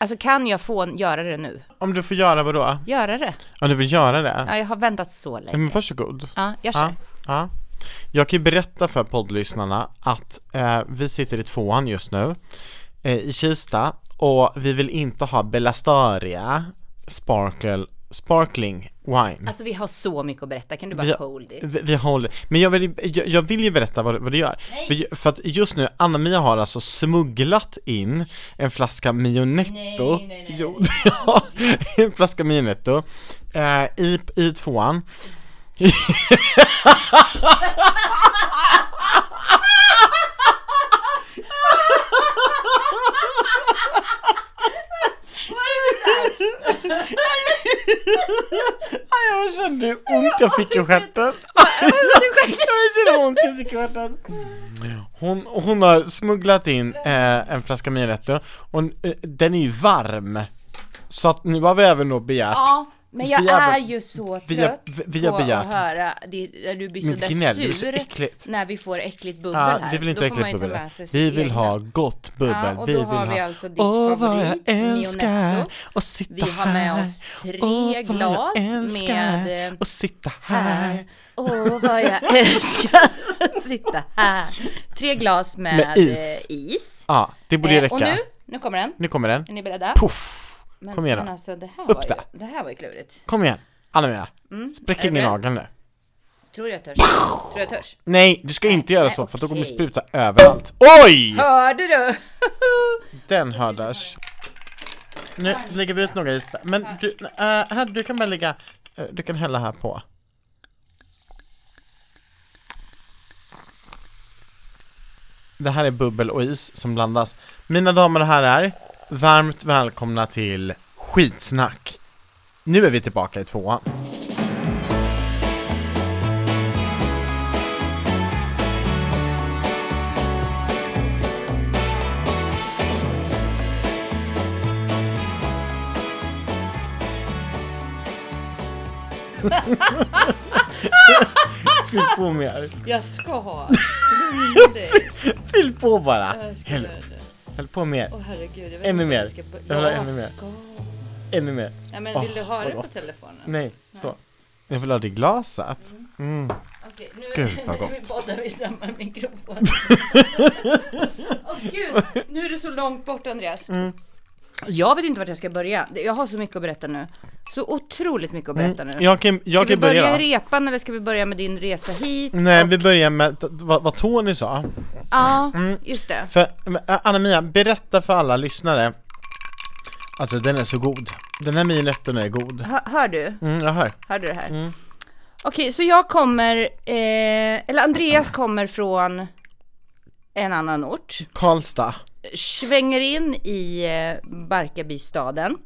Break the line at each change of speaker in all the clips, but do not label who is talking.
Alltså kan jag få göra det nu?
Om du får göra vadå?
Göra det?
Om du vill göra det?
Ja, jag har väntat så
Ja,
länge.
Men varsågod.
Ja, jag kör.
Ja, ja. Jag kan ju berätta för poddlyssnarna att eh, vi sitter i tvåan just nu eh, i Kista och vi vill inte ha Belastaria Sparkle Sparkling Wine.
Alltså vi har så mycket att berätta, kan du bara
Vi-
hold it?
Vi, vi håller, men jag vill, ju- jag, jag vill ju berätta vad, vad du gör. För, ju- för att just nu, Anna-Mia har alltså smugglat in en flaska Mionetto.
Nej, nej, nej.
Jo, ja, en flaska Mionetto eh, i, i tvåan. Aj, jag kände hur ont jag fick i stjärten. Jag känner hur ont jag fick i stjärten. Hon, hon har smugglat in eh, en flaska Miretto och eh, den är ju varm. Så att nu har vi även då begärt
Ja, men jag
Vi har-
är ju så
vi har-
trött
vi- vi har
på
begärt-
att höra det, du blir
mitt
så
gnäll,
där
det är så
sur
äckligt.
när vi får äckligt bubbel
Ja,
här.
Ah, vi vill inte
Då
ha
får man ju
äckligt
ta
bubbel.
med sig sitt
Vi vill
egna.
ha gott bubbel.
Ja, och då
vi vill
har vi
ha...
alltså ditt
Åh, vad jag
favorit,
älskar
Mionetto.
och sitta
Vi har med
här.
oss tre
Åh, vad
glas
jag älskar
med, eh,
och sitta här.
Åh, vad jag älskar att sitta här. Tre glas med,
Med is.
eh, is.
Ja, det borde ju
Eh,
räcka.
och nu, nu kommer den.
Nu kommer den.
Är ni beredda?
Puff!
Men,
Kom igen
men
då.
alltså, det här,
Upp
var
där.
ju, det här var ju klurigt.
Kom igen. Anna-Mia. Spräck
Mm. är
in i
du beredd?
nageln nu.
Tror du jag törs? Tror du jag törs?
Nej, du ska inte göra
nej,
så för då kommer
okej.
spruta överallt. Oj!
Hörde du?
Den hördes. Nu lägger vi ut några isbär. Men du, eh, här, du kan bara lägga, eh, du kan hälla här på. Det här är bubbel och is som blandas. Mina damer och herrar, varmt välkomna till Skitsnack. Nu är vi tillbaka i tvåan. Fyll på mer.
Jag ska ha.
Fyll på bara.
ska
Häll, upp. häll på mer.
Åh herregud, jag vet
Ännu
inte
mer.
om jag ska
Jag
börja.
vill ha
Jag
ännu mer.
ska.
Ännu mer.
Ja, men
Åh,
vill du ha
vad
det på
gott.
telefonen? Mm.
Nej, så. Jag vill ha det i glaset.
Okej, nu,
Gud, vad
nu
gott.
poddar vi i samma mikrofon. Åh gud, nu är du så långt bort Andreas.
Mm.
Jag vet inte vart jag ska börja. Jag har så mycket att berätta nu. Så otroligt mycket att berätta nu.
Jag kan, jag
Ska vi
kan Mm. börja. Mm.
börja
va?
i repan eller ska vi börja med din resa hit?
Nej,
Och-
vi börjar med t- vad, vad Tony sa.
Ja,
Mm.
just det.
För men, Ä- Anna-Mia, berätta för alla lyssnare. Alltså den är så god. Den här mionetten är god.
Hör, hör du?
Mm, jag hör.
Hörde du det här?
Mm.
Okej, så jag kommer, eh, eller Andreas kommer från en annan ort,
Karlstad.
svänger in i eh, Barkarbystaden,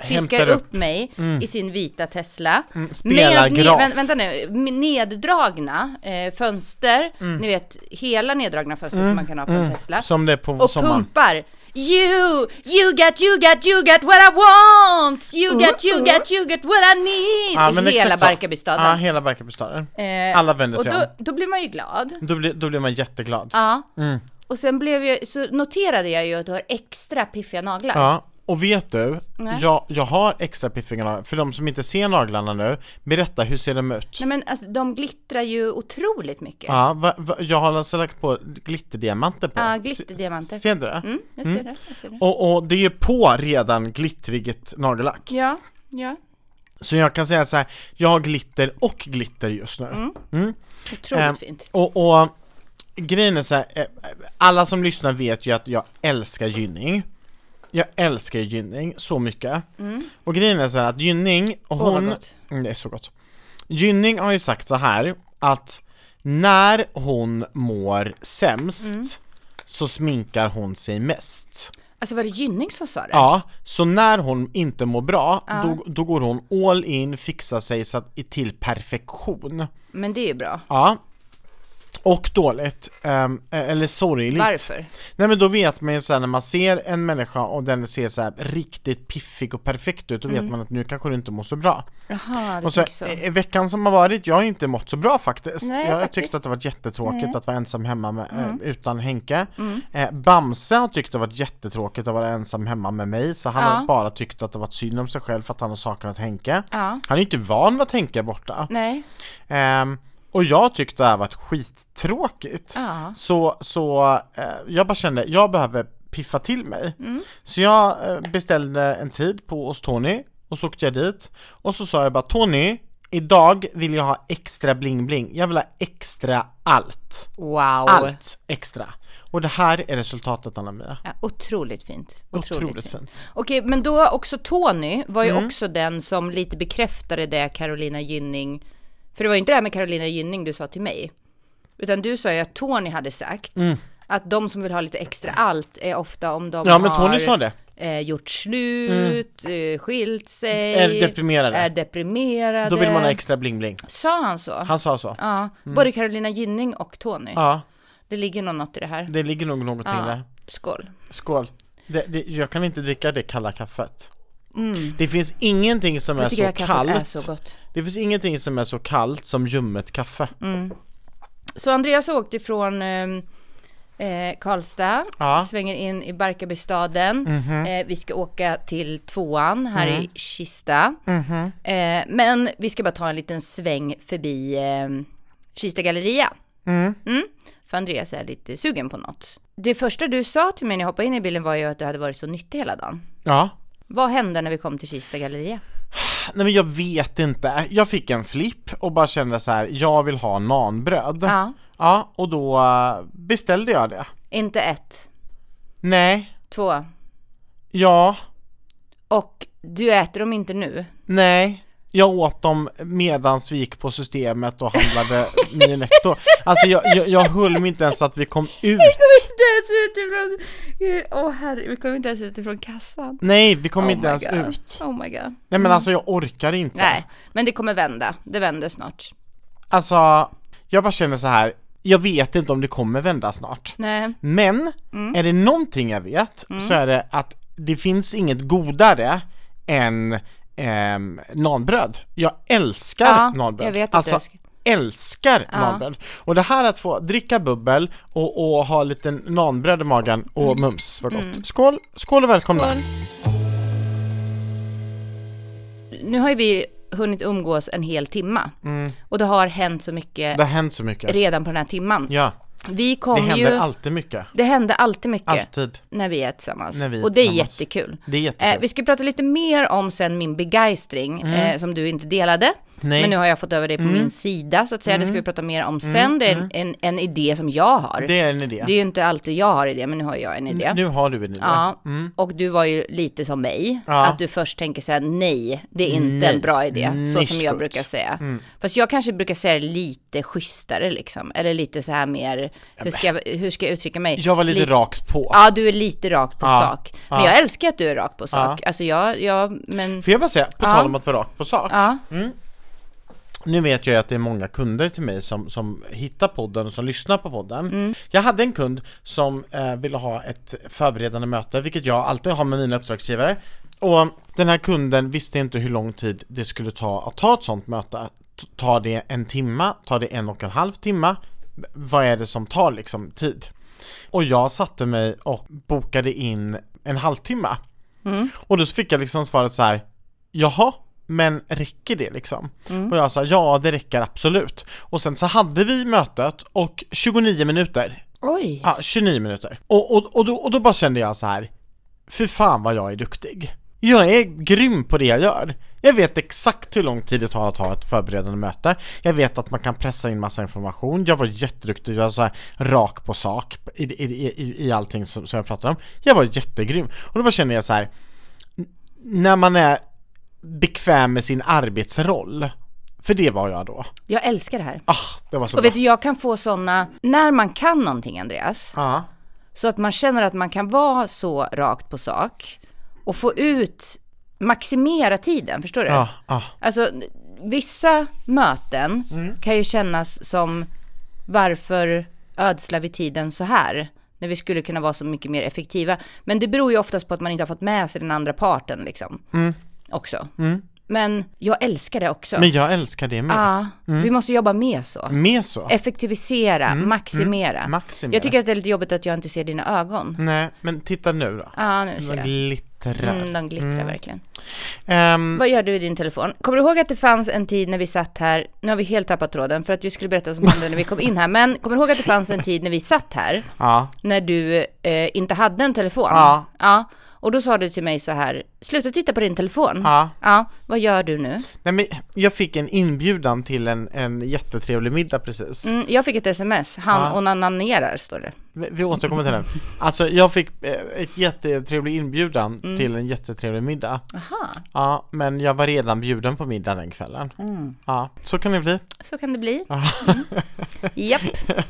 fiskar
Hämtar
upp
upp.
mig i sin vita Tesla.
spelar
ne-
graf.
vänt- vänta nu, med neddragna eh, fönster, ni vet hela neddragna fönster som man kan ha på en Tesla.
Mm. Som det är på
och
sommaren.
pumpar You, you got, you got, you got what I want You got,
Uh,
you got, you got what I need I hela
exakt så.
Barkarbystaden
Ja, hela Barkarbystaden.
Eh,
Alla vänder sig
och
om.
då, då blir man ju glad.
Då blir, då blir man jätteglad.
Ja.
Mm.
Och sen blev jag, så noterade jag ju att du har extra piffiga naglar.
Ja, och vet du?
Nej.
Jag, jag har extra piffiga naglar. För de som inte ser naglarna nu, berätta hur ser de ut?
Nej men alltså de glittrar ju otroligt mycket.
Ja, va, va, jag har alltså lagt på glitterdiamanter på.
Ja,
Se-
glitterdiamanter.
Ser du det?
Mm, jag ser det, jag ser det.
Och, och det är ju på redan glittrigt nagellack.
Ja, ja.
Så jag kan säga så här, jag har glitter och glitter just nu.
Otroligt
Ehm,
fint.
Och, och grejen är så här, eh, alla som lyssnar vet ju att jag älskar gynning. Jag älskar gynning så mycket. Och grejen är så här att gynning, och
Mm. Åh, vad
hon,
gott.
Mm, det är så gott. Gynning har ju sagt så här att när hon mår sämst
Mm.
så sminkar hon sig mest.
Alltså var det Gynning som sa det?
Ja, så när hon inte mår bra, då, då går hon all in, fixar sig så att, till perfektion.
Men det är ju bra.
Ja. Och dåligt, ehm, eller sorgligt.
Varför?
Nej men då vet man ju såhär när man ser en människa och den ser så här riktigt piffig och perfekt ut, då vet man att nu kanske du inte mår så bra.
Jaha, du
Och så,
tycker Mm. så.
eh, veckan som har varit, jag har inte mått så bra faktiskt.
Nej,
jag har
faktiskt. Mm.
tyckt att det har varit jättetråkigt att vara ensam hemma med, eh, utan Henke. Eh, Bamse har tyckt att det har varit jättetråkigt att vara ensam hemma med mig, så han
Ja.
har bara tyckt att det har varit synd om sig själv för att han har saknat Henke.
Ja.
Han är ju inte van vid att Henke är borta.
Nej.
Ehm, och jag har tyckt det här har varit skittråkigt.
Ja.
Så, så eh, jag bara kände, jag behöver piffa till mig.
Mm.
Så jag eh, beställde en tid på hos Tony och så åkte jag dit och så sa jag bara Tony, idag vill jag ha extra bling bling. Jag vill ha extra allt.
Wow.
Allt extra. Och det här är resultatet Anna-Mia.
Ja, otroligt fint. Otroligt,
Otroligt
fint.
fint.
Okej, men då också Tony var
Mm.
ju också den som lite bekräftade det Carolina Gynning, för det var ju inte det här med Carolina Gynning du sa till mig, utan du sa ju att Tony hade sagt
Mm.
att de som vill ha lite extra allt är ofta om de
Ja men
har
Tony sa det.
Eh, gjort slut, eh, skilt sig,
Är deprimerade.
är deprimerade.
Då vill man ha Mm. extra bling bling.
Sa han så?
Han sa så.
Ja, både Carolina Gynning och Tony.
Ja,
Det ligger nog något i det här.
det ligger nog någonting
Ja.
där.
Skål.
Skål. Det, det, jag kan inte dricka det kalla kaffet. Det finns ingenting som är
Mm. Jag tycker
så
det här kaffet är
kallt
så gott.
Det finns ingenting som är så kallt som ljummet kaffe.
Mm. Så Andreas åkte ifrån ehm, eh, Karlstad,
Ja.
svänger in i Barkarbystaden. Eh, vi ska åka till tvåan här i Kista. Eh, men vi ska bara ta en liten sväng förbi eh, Kista galleria. Mm. För Andreas är lite sugen på något. Det första du sa till mig när jag hoppade in i bilen var ju att du hade varit så nyttig hela dagen.
Ja.
Vad hände när vi kom till Kista galleria?
Nej men jag vet inte. Jag fick en flipp och bara kände så här, jag vill ha nanbröd.
Ja,
Ja, och då eh, beställde jag det.
inte ett,
Nej,
två.
ja,
Och du äter dem inte nu.
nej. Jag åt dem medans vi gick på systemet och handlade Minetto. Alltså jag, jag, jag höll mig inte ens att vi kom ut.
inte ens utifrån... Åh herre, vi kom inte ens utifrån kassan.
Nej, vi kom
Oh
inte
my
ens
God.
ut.
Oh my god.
Nej men alltså jag orkar inte.
Nej, men det kommer vända. Det vänder snart.
Alltså, jag bara känner så här, jag vet inte om det kommer vända snart.
Nej.
Men
Mm.
är det någonting jag vet så är det att det finns inget godare än ehm, nanbröd. Jag älskar
Ja,
nanbröd.
jag vet att
alltså,
du älskar.
älskar nanbröd. Och det här att få dricka bubbel och, och ha lite nanbröd i magen och
Mm.
mums, vad gott. Skål, skål och välkomna!
Nu har ju vi hunnit umgås en hel timma. Och det har hänt så mycket
Mm. Det har hänt så mycket.
redan på den här timman.
Ja,
Vi kom
det händer
ju...
alltid mycket.
det hände alltid mycket.
Alltid.
När vi är tillsammans.
När vi är
och det är
tillsammans.
jättekul.
Det är jättekul.
Eh, vi ska prata lite mer om sen min begeistring eh, som du inte delade.
Mm. Nej. Mm.
Men nu har jag fått över det på min sida så att säga. Det ska vi prata mer om sen. Det är en, en, en idé som jag har.
Det Mm, är en idé.
Det är ju inte alltid jag har idé, men nu har jag en idé.
Nu har du en idé.
Ja, och du var ju lite som mig,
Mm. Ja.
att du först tänker säga nej, det är inte en bra idé, så som jag
Nischkult.
brukar säga.
Mm.
Fast jag kanske brukar säga det lite schysstare liksom, eller lite så här mer, hur ska jag, hur ska jag uttrycka mig?
Jag var lite
Lite-
rakt på.
Ja, du är lite rakt på
Ja.
sak. Men
Ja.
jag älskar att du är rakt på sak. Alltså jag, jag, men,
Får jag bara säga, på
Mm. Ja.
tal om att vara rakt på sak. Mm.
ja,
Nu vet jag ju att det är många kunder till mig som, som hittar podden och som lyssnar på podden.
Mm.
Jag hade en kund som eh, ville ha ett förberedande möte, vilket jag alltid har med mina uppdragsgivare. Och den här kunden visste inte hur lång tid det skulle ta att ta ett sånt möte. T- Tar det en timma? Tar det en och en halv timma? V- Vad är det som tar liksom tid? Och jag satte mig och bokade in en halvtimme.
Mm.
Och då fick jag liksom svaret så här. Jaha, men räcker det liksom? Och jag sa ja, det räcker absolut. Och sen så hade vi mötet och 29 minuter.
oj,
Ja, 29 minuter. Och, och, och, då, och då bara kände jag så här. Fy fan vad jag är duktig. Jag är grym på det jag gör. Jag vet exakt hur lång tid det tar att ha ett förberedande möte. Jag vet att man kan pressa in massa information. Jag var jätteduktig, jag var så här rak på sak i, i, i, i allting som, som jag pratade om. Jag var jättegrym. Och då bara kände jag så här. n- När man är bekväm med sin arbetsroll. För det var jag då.
jag älskar det här.
Ah, det var så
Och
bra.
vet du, jag kan få sådana, när man kan någonting Andreas,
Ja.
så att man känner att man kan vara så rakt på sak och få ut, maximera tiden, förstår du?
Ja, ja. Mm.
Alltså, vissa möten kan ju kännas som varför ödslar vi tiden så här? När vi skulle kunna vara så mycket mer effektiva. Men det beror ju oftast på att man inte har fått med sig den andra parten liksom. Också. Men jag älskar det också.
Mm. Men Mm. jag älskar det med.
ja, Vi måste jobba mer så.
Med så.
Effektivisera, maximera.
Mm. Maximera.
Jag tycker att det är lite jobbigt att jag inte ser dina ögon.
Nej, men titta nu då.
Ja, nu ser
De
jag.
glittrar.
Mm, de glittrar verkligen.
Ehm,
Vad gör du i din telefon? Kommer du ihåg att det fanns en tid när vi satt här, nu har vi helt tappat tråden för att du skulle berätta vad som hände när vi kom in här, men kommer du ihåg att det fanns en tid när vi satt här,
ja.
när du eh, inte hade en telefon?
Ja.
ja. Och då sa du till mig så här, sluta titta på din telefon.
Ja.
Ja, vad gör du nu?
Nej, men jag fick en inbjudan till en, en jättetrevlig middag precis.
Mm, jag fick ett sms, han
Ja.
onanerar står det.
Vi, vi återkommer till den. Alltså, jag fick eh, ett jättetrevlig inbjudan
Mm.
till en jättetrevlig middag.
Aha,
Ja, men jag var redan bjuden på middag den kvällen.
Mm.
Ja, så kan det bli.
så kan det bli. Mm. Japp.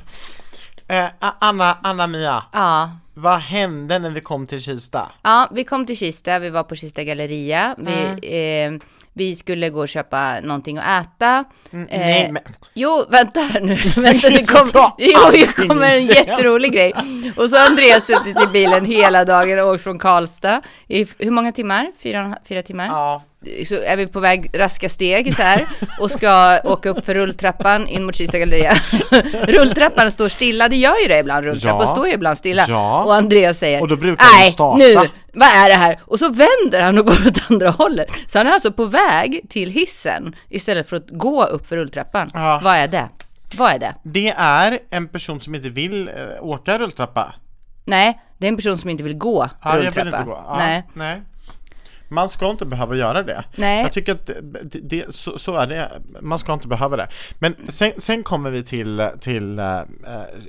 Eh, A- Anna, Anna-Mia,
Ja,
vad hände när vi kom till Kista?
Ja, vi kom till Kista, vi var på Kista galleria. Vi, eh, vi skulle gå och köpa någonting att äta. Eh,
Mm, nej, men-
Jo, vänta här nu. vänta, det
Ta
kom, jo, det
allting
kommer en
igen.
jätterolig grej. Och så har Andreas suttit i bilen hela dagen och åkt från Karlstad i f- hur många timmar? Fyra, fyra timmar?
Ja,
Så är vi på väg raska steg så här och ska åka upp för rulltrappan in mot Kista galleria. rulltrappan står stilla, det gör ju det ibland. Rulltrappan
Ja.
står ju ibland stilla.
Ja.
Och Andreas säger
Och då brukar den
Nej,
starta."
nu, vad är det här? Och så vänder han och går åt andra hållet. Så han är alltså på väg till hissen istället för att gå upp för rulltrappan.
Ja.
Vad är det? Vad är det?
det är en person som inte vill eh, åka rulltrappa.
Nej, det är en person som inte vill gå
Ja, jag
rulltrappa.
vill inte gå. Ja,
Nej.
nej. Man ska inte behöva göra det.
Nej.
Jag tycker att det, det, så, så är det, man ska inte behöva det. Men sen, sen kommer vi till, till eh,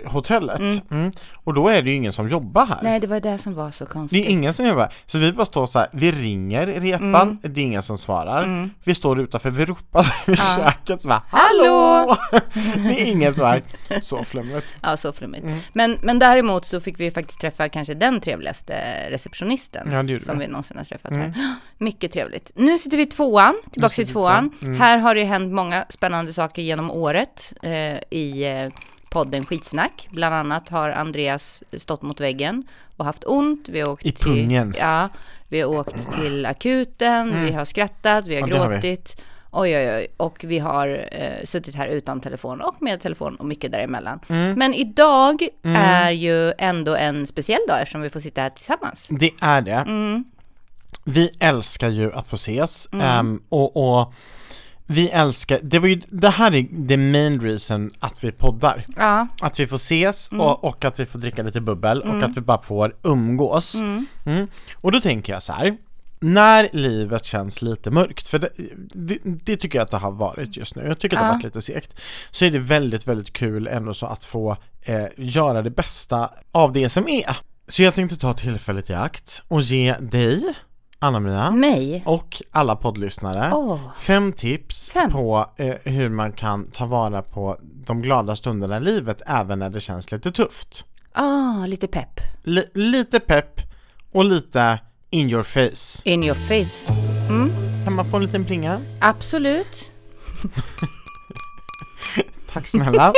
hotellet Mm. och då är det ju ingen som jobbar här.
Nej, det var det som var så
Det
konstigt.
är ingen som jobbar. Så vi bara står så här, vi ringer repan,
Mm.
det är ingen som svarar. Vi står utanför, vi ropar så här i köket så bara,
Hallå!
det är ingen som är så flummigt. Mm.
Ja, så flummigt. Men, men däremot så fick vi ju faktiskt träffa kanske den trevligaste receptionisten
Ja, det gjorde Mm.
som vi någonsin har träffat här. Mycket trevligt. Nu sitter vi i tvåan, tillbaka till tvåan.
Mm.
Här har det ju hänt många spännande saker genom året eh, i eh, podden Skitsnack. Bland annat har Andreas stått mot väggen och haft ont. Vi har åkt
I pungen. Mm.
Till, ja, vi har åkt till akuten, vi har skrattat, vi har
Ja, det har vi.
gråtit. Oj, oj, oj. Och vi har eh, suttit här utan telefon och med telefon och mycket däremellan.
Mm.
Men idag är ju ändå en speciell dag eftersom vi får sitta här tillsammans.
Det är det. Vi älskar ju att få ses ehm, och, och vi älskar, det var ju, det här är the main reason att vi poddar.
Ja,
Att vi får ses
Mm.
och, och att vi får dricka lite bubbel och att vi bara får umgås. Mm. Och då tänker jag så här. När livet känns lite mörkt, för det, det, det tycker jag att det har varit just nu, jag tycker att det har
Ja.
varit lite segt, så är det väldigt, väldigt kul ändå så att få eh, göra det bästa av det som är. Så jag tänkte ta tillfället i akt och ge dig, Anna-Mia
mig.
och alla poddlyssnare
Mm. Åh,
Fem tips
Fem.
på eh, hur man kan ta vara på de glada stunderna i livet även när det känns lite tufft.
ah, lite pepp.
Li- lite pepp och lite in your face.
In your face. Mm,
Kan man få en liten plinga?
absolut.
Tack snälla.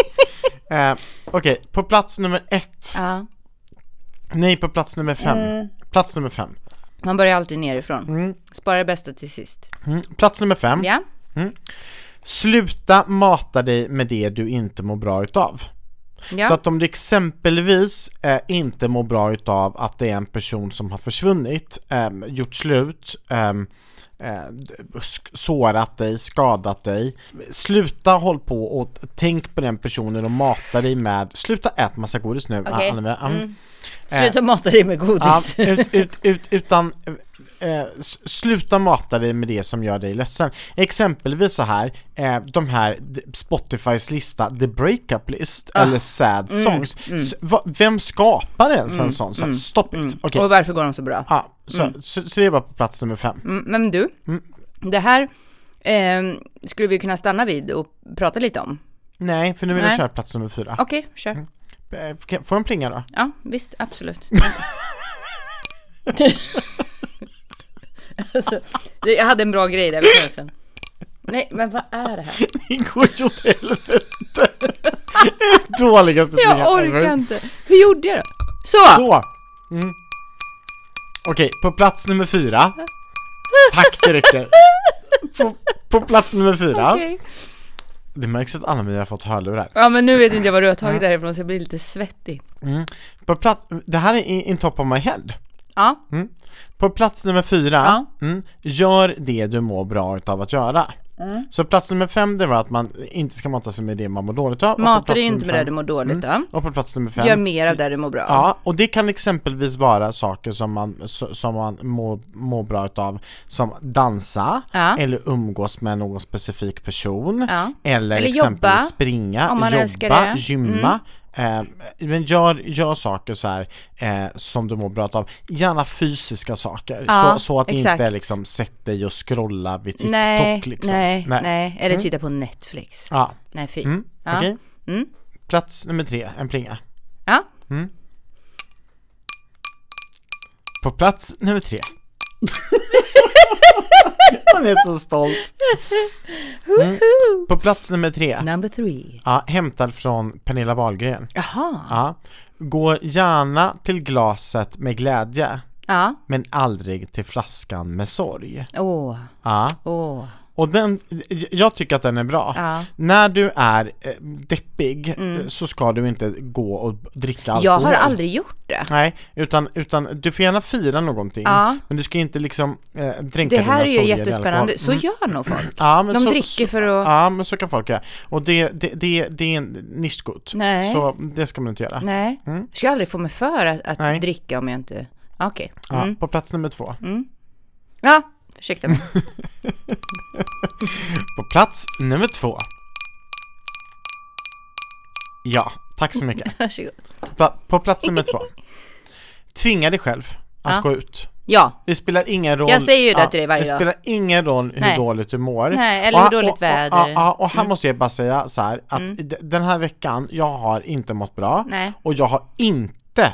eh, Okej, på plats nummer ett.
Ja.
Nej, på plats nummer fem.
Eh.
Plats nummer fem.
Man börjar alltid nerifrån.
Mm.
Spara det bästa till sist.
Mm. Plats nummer fem.
Ja,
Sluta mata dig med det du inte mår bra utav.
ja.
Så att om du exempelvis eh, inte mår bra utav att det är en person som har försvunnit, ehm, gjort slut, ehm, eh, sk- sårat dig, skadat dig. Sluta håll på och t- tänk på den personen och mata dig med, sluta ät massa godis nu.
Okej.
Anna-Maria. Mm.
Mm. Sluta mata dig med
Ja,
godis.
ut, ut, ut, utan eh, s- sluta mata dig med det som gör dig ledsen. Exempelvis så här, eh, de här d- Spotifys lista, The Breakup List
Ah,
eller Sad
mm,
Songs. S- va, vem skapar ens en sån sak? Stop it. Okej,
mm. Och mm. varför går de så bra?
ja, så, så, så det var på plats nummer fem.
Mm, men du, det här ehm, skulle vi kunna stanna vid och prata lite om.
Nej, för nu vill jag
Nej.
köra plats nummer fyra.
Okej, kör.
Eh, kan- Får jag en plinga då?
Ja, visst, absolut. alltså, det- jag hade en bra grej där vid snösen. Nej, men vad är det här?
Det går ju åt helvete. Dåligaste plingan
Jag orkar inte. Hur gjorde jag då? Så!
Så! Mm. Okej, på plats nummer fyra. Tack, det räcker. På, på plats nummer fyra.
Okej.
Det märks att Anna-Mia har fått hörlurar.
Ja men nu vet inte jag vad du har tagit därifrån så jag blir lite svettig.
På plats, det här är in, in top of my head.
Ja,
På plats nummer fyra, mm, gör det du mår bra utav att göra.
Mm.
Så plats nummer fem, det var att man inte ska mata sig med det man mår dåligt av. och på
mata
plats
dig
nummer
inte med det
fem-
du mår dåligt av.
Och på plats nummer fem,
Gör mer av det du mår bra av.
Ja, och det kan exempelvis vara saker som man, s- som man mår, mår bra utav som dansa,
Ja.
eller umgås med någon specifik person,
Ja.
eller,
Eller
exempelvis
jobba,
springa,
om man älskar
jobba,
det. Mm.
gymma. Eh, men gör, gör saker så här eh, som du mår bra utav, gärna fysiska saker,
Ja,
så, så att
exakt.
inte liksom sätt dig och scrolla vid TikTok
nej,
liksom.
nej, nej, Mm. Eller titta på Netflix.
Ja,
Nej fy.
okej.
Ja. Mm.
Plats nummer tre, en plinga.
Ja.
På plats nummer tre. Hon är så stolt. Mm. På plats nummer tre.
Number three.
Ja, hämtad från Pernilla Wahlgren.
Jaha.
Ja. Gå gärna till glaset med glädje,
Ja.
men aldrig till flaskan med sorg.
Åh.
Ja.
Åh.
Och den, jag tycker att den är bra.
Ja. Mm.
När du är eh, deppig eh, så ska du inte gå och dricka alkohol.
Jag har aldrig gjort det.
Nej, utan, utan du får gärna fira någonting,
Ja.
men du ska inte liksom eh, dränka
Det här är
dina
ju
sorger i alkohol. Mm.
jättespännande. Så gör nog folk.
Ja, men
De
så,
dricker
så,
för att...
Ja, men så kan folk göra. Och det, det, det, det är en nischgott.
Nej.
Så det ska man inte göra.
Nej. Jag ska aldrig få mig för att, att
Nej.
dricka om jag inte... Ja, Okej.
Ja, På plats nummer två.
Mm. Ja, ursäkta mig.
På plats nummer två. Ja, tack så mycket.
Varsågod.
Pla- på plats nummer två. Tvinga dig själv att
Ja.
gå ut.
Ja.
Det spelar ingen roll.
Jag säger ju det till dig varje
Det
dag.
spelar ingen roll hur
Nej.
dåligt du mår.
Nej, eller hur dåligt väder. Mm.
Och, och, och, och här måste jag bara säga så här att d- den här veckan, jag har inte mått bra.
Nej.
Och jag har inte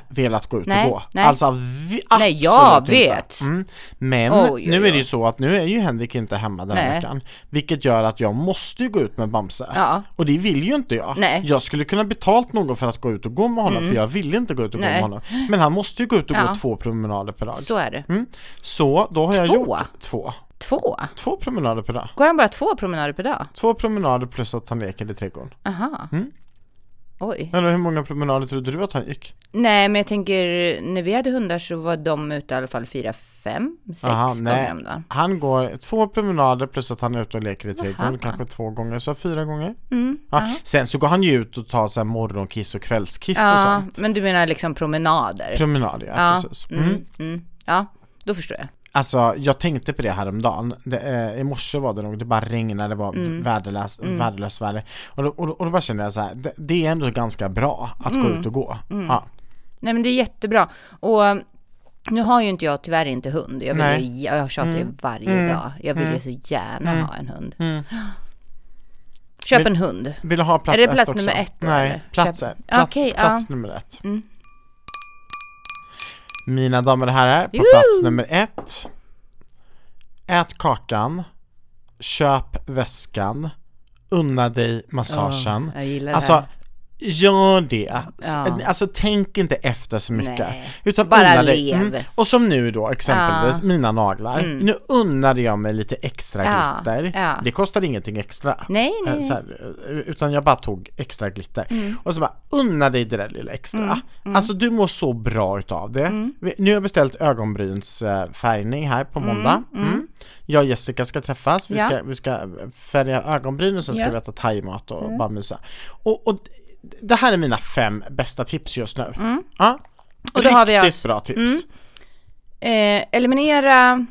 velat gå ut
Nej,
och gå.
nej.
Alltså vi,
Nej, jag
absolut inte.
vet.
Mm. Men
Oj, oj,
nu är det ju
oj.
så att nu är ju Henrik inte hemma den här
Nej.
veckan. Vilket gör att jag måste ju gå ut med Bamse.
Ja.
Och det vill ju inte jag.
Nej. Mm.
Jag skulle kunna betalt någon för att gå ut och gå med honom för jag vill inte gå ut och gå med
Nej.
honom. Men han måste ju gå ut och gå
Ja.
två promenader per dag.
Så är det.
Mm. Så då har jag
Två?
gjort två.
Två?
Två promenader per dag.
Går han bara två promenader per dag?
Två promenader plus att han leker i trädgården.
Aha.
Mm.
Oj.
Eller hur många promenader trodde du att han gick?
Nej, men jag tänker när vi hade hundar så var de ute i alla fall fyra, fem, sex
Aha, nej.
gånger om dagen.
Han går två promenader plus att han är ute och leker i trädgården kanske två gånger, så fyra gånger.
Mm,
ja. Sen så går han ju ut och tar så här morgonkiss och kvällskiss och
Ja,
sånt.
men du menar liksom promenader?
Promenader, ja,
Ja.
precis. Mm.
Mm, mm. Ja, då förstår jag.
Alltså jag tänkte på det häromdagen, det, eh, i morse var det nog, det bara regnade, det var
Mm.
värdelös, värdelöst väder och då, och, då, och då bara kände jag så här, det, det är ändå ganska bra att
Mm.
gå ut och gå ja.
Nej, men det är jättebra. Och nu har ju inte jag tyvärr inte hund. Jag,
Nej. Mm.
vill ju, jag tjatar ju varje dag. Jag vill ju så gärna ha en hund. Köp
Men-
en hund.
Vill du ha plats
Är det
ett
plats
också?
nummer ett då,
Nej,
eller?
plats,
Köp-
ett. plats,
Okej, ja. Mm.
plats nummer ett Mina damer och herrar, på plats nummer ett Ät kakan Köp väskan Unna dig massagen
jag gillar det
Alltså
här.
Gör det. S-
Ja.
Alltså tänk inte efter så mycket.
Nej.
Utan
Bara
unna dig.
lev. Mm.
Mm. Och som nu då exempelvis, mina naglar. Nu unnade jag mig lite extra
Ja,
glitter.
ja.
Det kostade ingenting extra.
Nej, nej,
Eh, Så här, eh, utan jag bara tog extra glitter.
Mm.
Och så bara, unna dig det där lilla extra. Alltså du mår så bra utav det.
Mm.
Vi- Nu har jag beställt ögonbrynsfärgning här på måndag. Mm. Jag och Jessica ska träffas, vi,
Ja.
ska, vi ska färga ögonbryn och sen ska
Ja. Mm.
vi äta thaimat och bara mysa. Och, och d- det här är mina fem bästa tips just nu. Ja.
Mm. Och då har vi alltså- Mm,
Riktigt
oss-
bra tips.
Eh, eliminera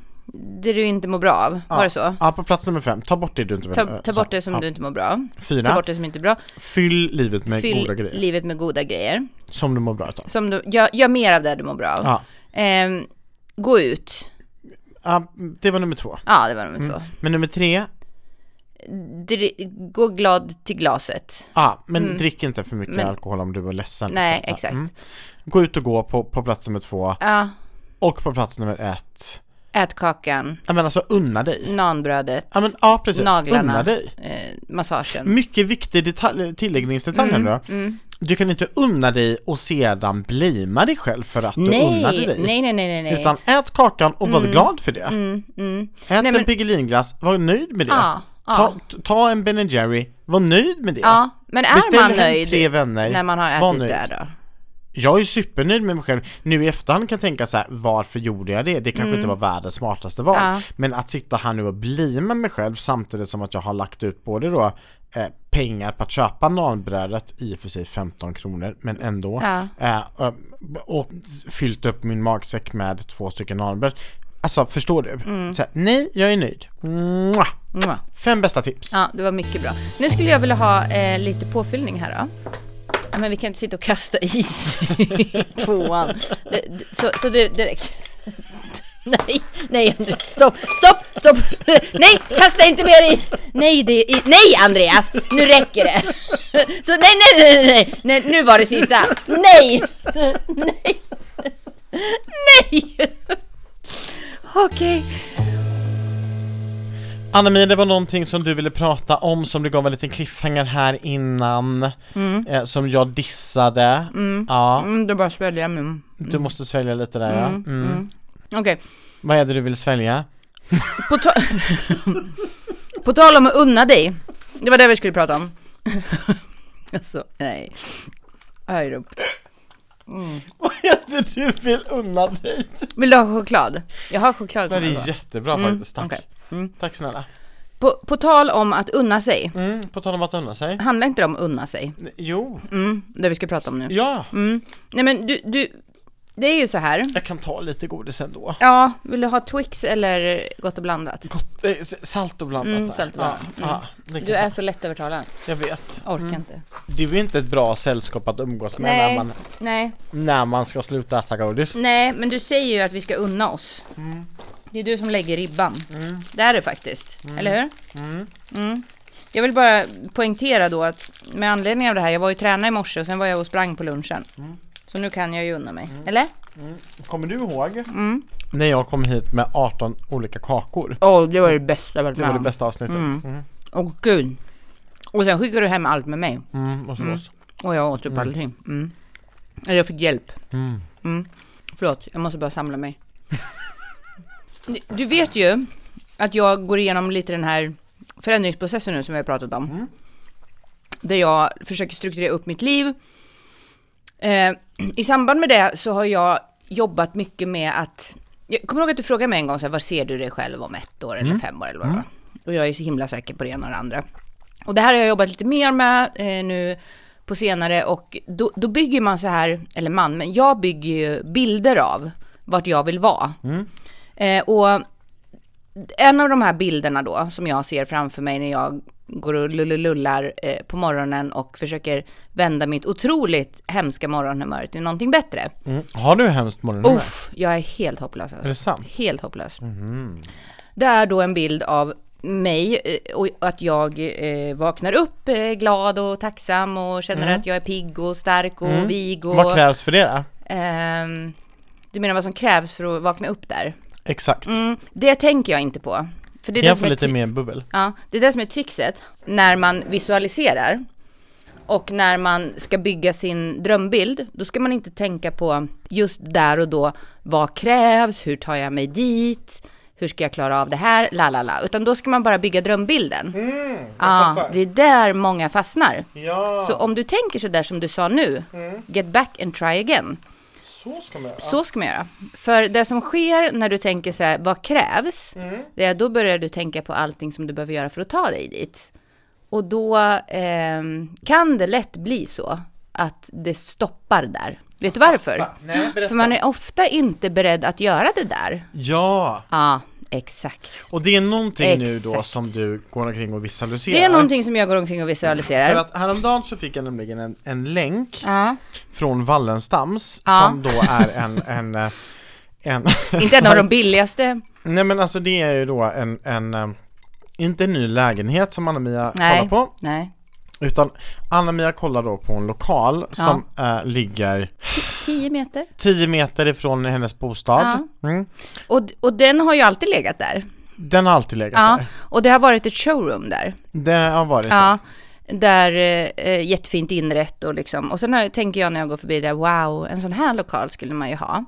det du inte mår bra av. Var det så?
Ja, på plats nummer fem, ta bort det du inte vill.
Ta, ta
så-
bort det som
ja.
du inte mår bra av. Ta
Fyra,
bort det som inte är bra.
fyll livet med
Fyll
goda grejer
livet med goda grejer.
som du mår bra utav.
Som du, gör, gör mer av det du mår bra av.
Ja.
Ehm, gå ut.
Ja, det var nummer två.
Ja, det var nummer två.
Men nummer tre,
Dri- gå glad till glaset.
ja, men drick inte för mycket
Mm. Men-
alkohol om du är ledsen.
Nej,
liksom.
exakt.
Gå ut och gå på, på plats nummer två
Ja,
och på plats nummer ett.
Ät kakan,
Ja men alltså unna dig.
nanbrödet,
Ja men ja precis,
naglarna,
unna dig.
eh, massagen.
Mycket viktig detalj, tilläggningsdetalj
Mm,
ändå. Du kan inte unna dig och sedan blima dig själv för att du
Nej,
unnade
nej,
dig.
nej, nej, nej, nej.
Utan ät kakan och var glad för det. Ät
mm. Nej,
en
men-
Piggelinglass, var nöjd med det.
Ja, ja.
Ta, ta en Ben Jerry, var nöjd med det.
ja, men är
Beställ
man
hem
nöjd
tre vänner.
när man har
Var
ätit
nöjd.
det då?
Jag är supernöjd med mig själv. Nu i efterhand kan jag tänka så här, varför gjorde jag det? Det kanske inte var världens smartaste val.
Mm. Ja.
Men att sitta här nu och bli med mig själv samtidigt som att jag har lagt ut både då eh, pengar på att köpa nanbrödet, i och för sig 15 kronor, men ändå.
Ja.
Eh, och, och fyllt upp min magsäck med två stycken nanbröd. Alltså förstår du?
Mm.
Så här, nej, jag är nöjd. Mwah!
Mwah.
Fem bästa tips.
Mm. Ja, det var mycket bra. Nu skulle jag vilja ha eh, lite påfyllning här då. Ja, Men vi kan inte sitta och kasta is i tvåan. Det- det- Så, så det, det räcker. Nej, nej Andreas, stopp, stopp, stopp. Nej, kasta inte mer is. Nej, det, i- nej Andreas, nu räcker det. Så nej, nej, nej, nej, nej, nej, nu var det sista. Nej, nej, nej. Okej.
Anna-Mia, det var någonting som du ville prata om som du gav en liten cliffhanger här innan eh, Som jag dissade Ja,
Mm, då bara sväljer jag min...
du måste svälja lite där ja. mm.
Okej.
Vad är det du vill svälja?
På, ta- på tal om att unna dig. Det var det vi skulle prata om. alltså, nej. Aj då.
Vad är det du vill unna dig?
Vill du ha choklad? Jag har choklad.
Det
till mig,
är
va?
jättebra faktiskt, tack
Mm. okej. Mm.
Tack snälla
På, på tal om att unna sig.
mm, På tal om att unna sig
Handlar inte det om unna sig?
Jo,
Mm, det vi ska prata om nu. Mm.
ja,
Nej men du, du, det är ju så här.
jag kan ta lite godis ändå
Ja, vill du ha Twix eller Gott och blandat?
Gott, eh, s- Salt och blandat
Mm,
där.
salt och
ja,
blandat.
ja, det kan
Du
jag
är så lättövertalad.
ta. Jag vet
Orkar inte.
Det är ju inte ett bra sällskap att umgås med när
Nej.
man,
Nej,
när man ska sluta äta godis
nej, men du säger ju att vi ska unna oss.
Mm.
Det är du som lägger ribban. Det är det faktiskt, eller hur? Mm. Jag vill bara poängtera då att med anledning av det här, jag var ju tränare i morse och sen var jag och sprang på lunchen.
Mm.
Så nu kan jag ju unna mig, eller? Mm.
Kommer du ihåg? När jag kom hit med 18 olika kakor.
Åh, det var det bästa jag varit
Det var det bästa avsnittet. Mm.
Åh gud. Och sen skickade du hem allt med mig.
Mm, och så
Mm.
oss.
Och jag åt upp allting. Mm. Eller jag fick hjälp.
Mm.
Mm. Förlåt, jag måste bara samla mig. Du- Du vet ju att jag går igenom lite den här förändringsprocessen nu som vi har pratat om. Där jag försöker strukturera upp mitt liv. Eh, I samband med det så har jag jobbat mycket med att... Jag kommer ihåg att du frågade mig en gång så här, var ser du dig själv om ett år eller fem år eller vad det var? Och jag är så himla säker på det ena och det andra. Och det här har jag jobbat lite mer med eh, nu på senare och då, då bygger man så här, eller man, men jag bygger ju bilder av vart jag vill vara. Eh, och en av de här bilderna då som jag ser framför mig när jag går och lullulullar eh, på morgonen och försöker vända mitt otroligt hemska morgonhumör till någonting bättre.
Mm. Har du hemskt morgonhumör?
Uff, jag är helt hopplös. Alltså.
Är det sant?
Helt hopplös.
Mhm.
Det är då en bild av mig eh, och att jag eh, vaknar upp eh, glad och tacksam och känner att jag är pigg och stark och vig och...
Mm. Vad krävs för det då?
ehm, du menar vad som krävs för att vakna upp där?
Exakt.
Mm, det tänker jag inte på. För det är
Kan
det
jag få
som är
lite
tri-
mer bubbel?
Ja, det är det som är trixet när man visualiserar och när man ska bygga sin drömbild, då ska man inte tänka på just där och då, vad krävs, hur tar jag mig dit, hur ska jag klara av det här, la la la, utan då ska man bara bygga drömbilden. ja, det är där många fastnar.
Ja,
Så om du tänker så där som du sa nu, get back and try again,
så ska man göra.
så ska man göra. För det som sker när du tänker så här, vad krävs?
Mm.
Det är, då börjar du tänka på allting som du behöver göra för att ta dig dit. Och då ehm, kan det lätt bli så att det stoppar där. Vet du varför?
Ah, Nej, berätta.
För man är ofta inte beredd att göra det där.
Ja,
Ja, exakt.
och det är någonting nu då
Exakt.
som du går omkring och visualiserar.
Det är någonting som jag går omkring och visualiserar.
För att häromdagen så fick jag nämligen en, en länk
ja.
från Wallenstams
Ja.
som då är en, en, eh, en
Inte en av de billigaste.
Nej men alltså det är ju då en, en eh, inte en ny lägenhet som Anna-Mia
Nej.
kollar på
Nej.
Utan Anna-Mia kollar då på en lokal som eh, ligger
10 meter.
10 meter ifrån hennes bostad. Mm.
Och, och den har ju alltid legat där.
Den har alltid legat
Ja,
där.
och det har varit ett showroom där.
Det har varit det.
Ja, där eh, jättefint inrett och liksom. Och sen har, jag- tänker jag när jag går förbi där, wow, en sån här lokal skulle man ju ha.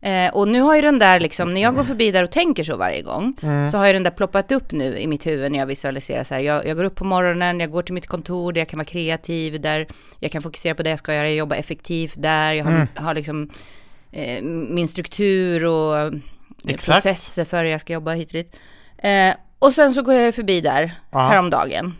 Eh, och nu har ju den där liksom, när jag går förbi där och tänker så varje gång, så har ju den där ploppat upp nu i mitt huvud när jag visualiserar så här, jag, jag går upp på morgonen, jag går till mitt kontor där jag kan vara kreativ, där jag kan fokusera på det jag ska göra, jag jobbar effektivt där, jag har, har liksom eh, min struktur och eh,
Exakt.
processer för hur jag ska jobba hit och dit. Eh, och sen så går jag förbi där
Ja.
häromdagen.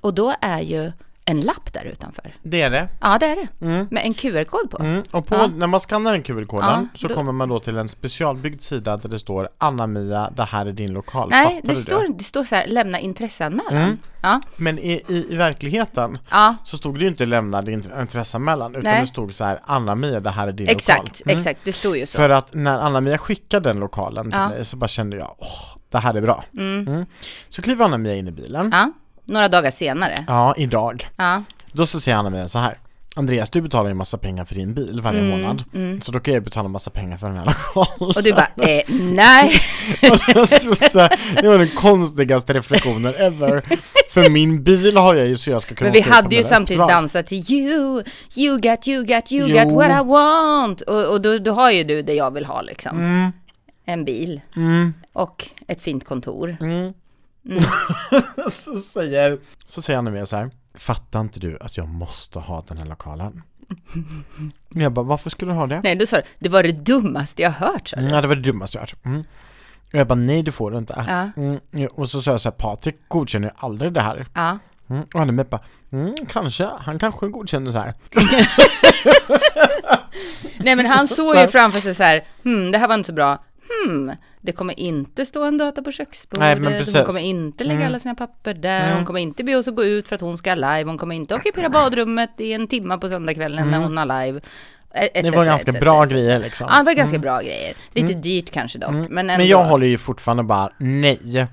Och då är ju en lapp där utanför.
Det är det.
Ja, det är det. Med en QR-kod på.
Mm, och på,
Ja.
när man skannar den QR-koden
Ja,
så
då-
kommer man då till en specialbyggd sida där det står Anna-Mia, det här är din lokal.
Nej,
Fattar
det
du Mm.
står, det står så här, lämna intresseanmälan. Ja,
Men i, i, i verkligheten
ja
så stod det ju inte lämna din int- intresseanmälan utan
Nej.
det stod så här Anna-Mia, det här är din lokal.
exakt,
Mm.
exakt. Det står ju så.
För att när Anna-Mia skickade den lokalen till
Ja.
mig så bara kände jag, åh, det här är bra. Mm. Så kliver Anna-Mia in i bilen.
Ja, några dagar senare.
Ja, idag.
Ja,
Då så säger Anna-Mia så här. Andreas, du betalar ju massa pengar för din bil varje månad. Så då kan jag betala massa pengar för den här lokalen.
Mm, och du bara, eh, nej.
Alltså, så här, det var den konstigaste reflektionen ever. För min bil har jag ju så jag ska kunna
Men vi
åka ut på
hade ju
mina
samtidigt
uppdrag.
dansat till you, you got, you got, you
Jo.
got what I want. Och, och då, då har ju du det jag vill ha liksom.
Mm.
En bil. Och ett fint kontor.
Mm. Så säger, så säger Anna-Mia så här. Fattar inte du att jag måste ha den här lokalen? Men jag bara, varför skulle du ha det?
Nej, du sa du, det var det dummaste jag hört. Så.
Mm, Ja, det var det dummaste jag hört. Mm. Och jag bara, nej det får du inte.
Ja,
Mm. ja, Och så sa jag så här, Patrik godkänner ju aldrig det här.
ja.
Mm. Och Anna-Mia bara, mm, kanske, han kanske godkänner så här.
Nej men han såg
Så här.
ju framför sig så här, hmm, det här var inte så bra, hmm, det kommer inte stå en data på köksbordet,
Nej, men precis. Mm.
hon kommer inte lägga alla sina papper där, hon kommer inte be oss att gå ut för att hon ska live, hon kommer inte ockupera badrummet i en timma på söndagskvällen när hon har live. Et,
Det Mm. var ganska bra grejer liksom.
Ja, det var ganska bra grejer. Lite dyrt kanske dock, men ändå.
Mm. Men jag håller ju fortfarande bara nej.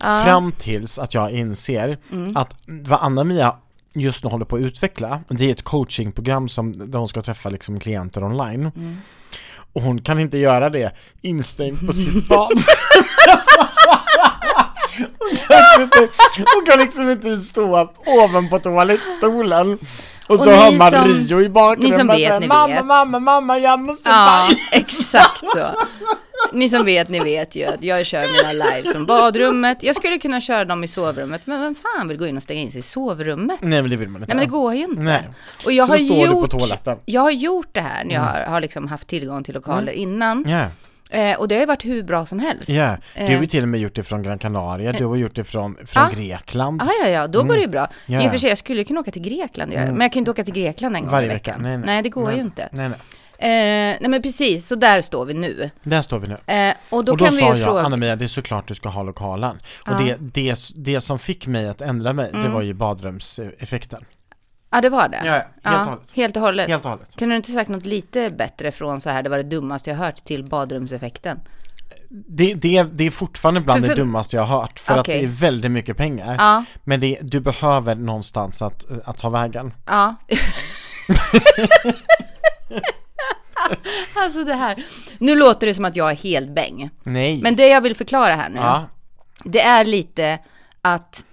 Fram tills att jag inser
Mm.
att vad Anna-Mia just nu håller på att utveckla, det är ett coachingprogram som, där hon ska träffa liksom klienter online.
Mm.
Och hon kan inte göra det instängd på sitt bad. Hon kan inte- Hon kan liksom inte stå upp ovanpå toalettstolen och så
Och ni
hör man
som-
Rio i bakgrunden
ni som
bara
vet,
säga,
ni
Mamma,
vet."
mamma, mamma, jag måste
Ja,
bajsa."
exakt så. Ni som vet, ni vet ju att jag kör mina live från badrummet. Jag skulle kunna köra dem i sovrummet, men vem fan vill gå in och stänga in sig i sovrummet?
Nej men det vill man inte.
Nej men det går ju inte.
Mm. Nej.
Och jag
Så
har,
då står du på
gjort,
toaletten. Mm.
jag har gjort det här när jag har, har liksom haft tillgång till lokaler innan.
Ja,
Eh, och det har ju varit hur bra som helst.
ja. Du har
Eh.
ju till och med gjort det från Gran Canaria, du har gjort det från, från
Ja.
Grekland.
Ah, ja, ja, då går det ju bra.
Mm. Ja.
I och för sig, jag skulle ju kunna åka till Grekland, mm. men jag kan ju inte åka till Grekland en gång
Varje
i
vecka.
veckan.
Nej, nej.
det går ju inte.
Nej nej,
Eh, nej, men precis, så där står vi nu.
där står vi nu.
Eh, och då
och då
kan vi
sa
ju
jag,
fråga...
Anna-Mia, det är såklart du ska ha lokalen.
Ja. Mm.
Och det, det, det som fick mig att ändra mig, det var ju badrumseffekten.
Ja, det var det.
Ja, ja, helt och hållet.
Helt och hållet.
Helt och hållet.
Kunde du inte sagt något lite bättre från så här, det var det dummaste jag hört till badrumseffekten?
Det, det, det är fortfarande bland
För-
det
för-
dummaste jag har hört, för att
Okej.
det är väldigt mycket pengar.
Ja,
Men det, du behöver någonstans att, att ta vägen.
ja. alltså det här. Nu låter det som att jag är helt bäng.
Nej.
Men det jag vill förklara här nu,
ja.
det är lite att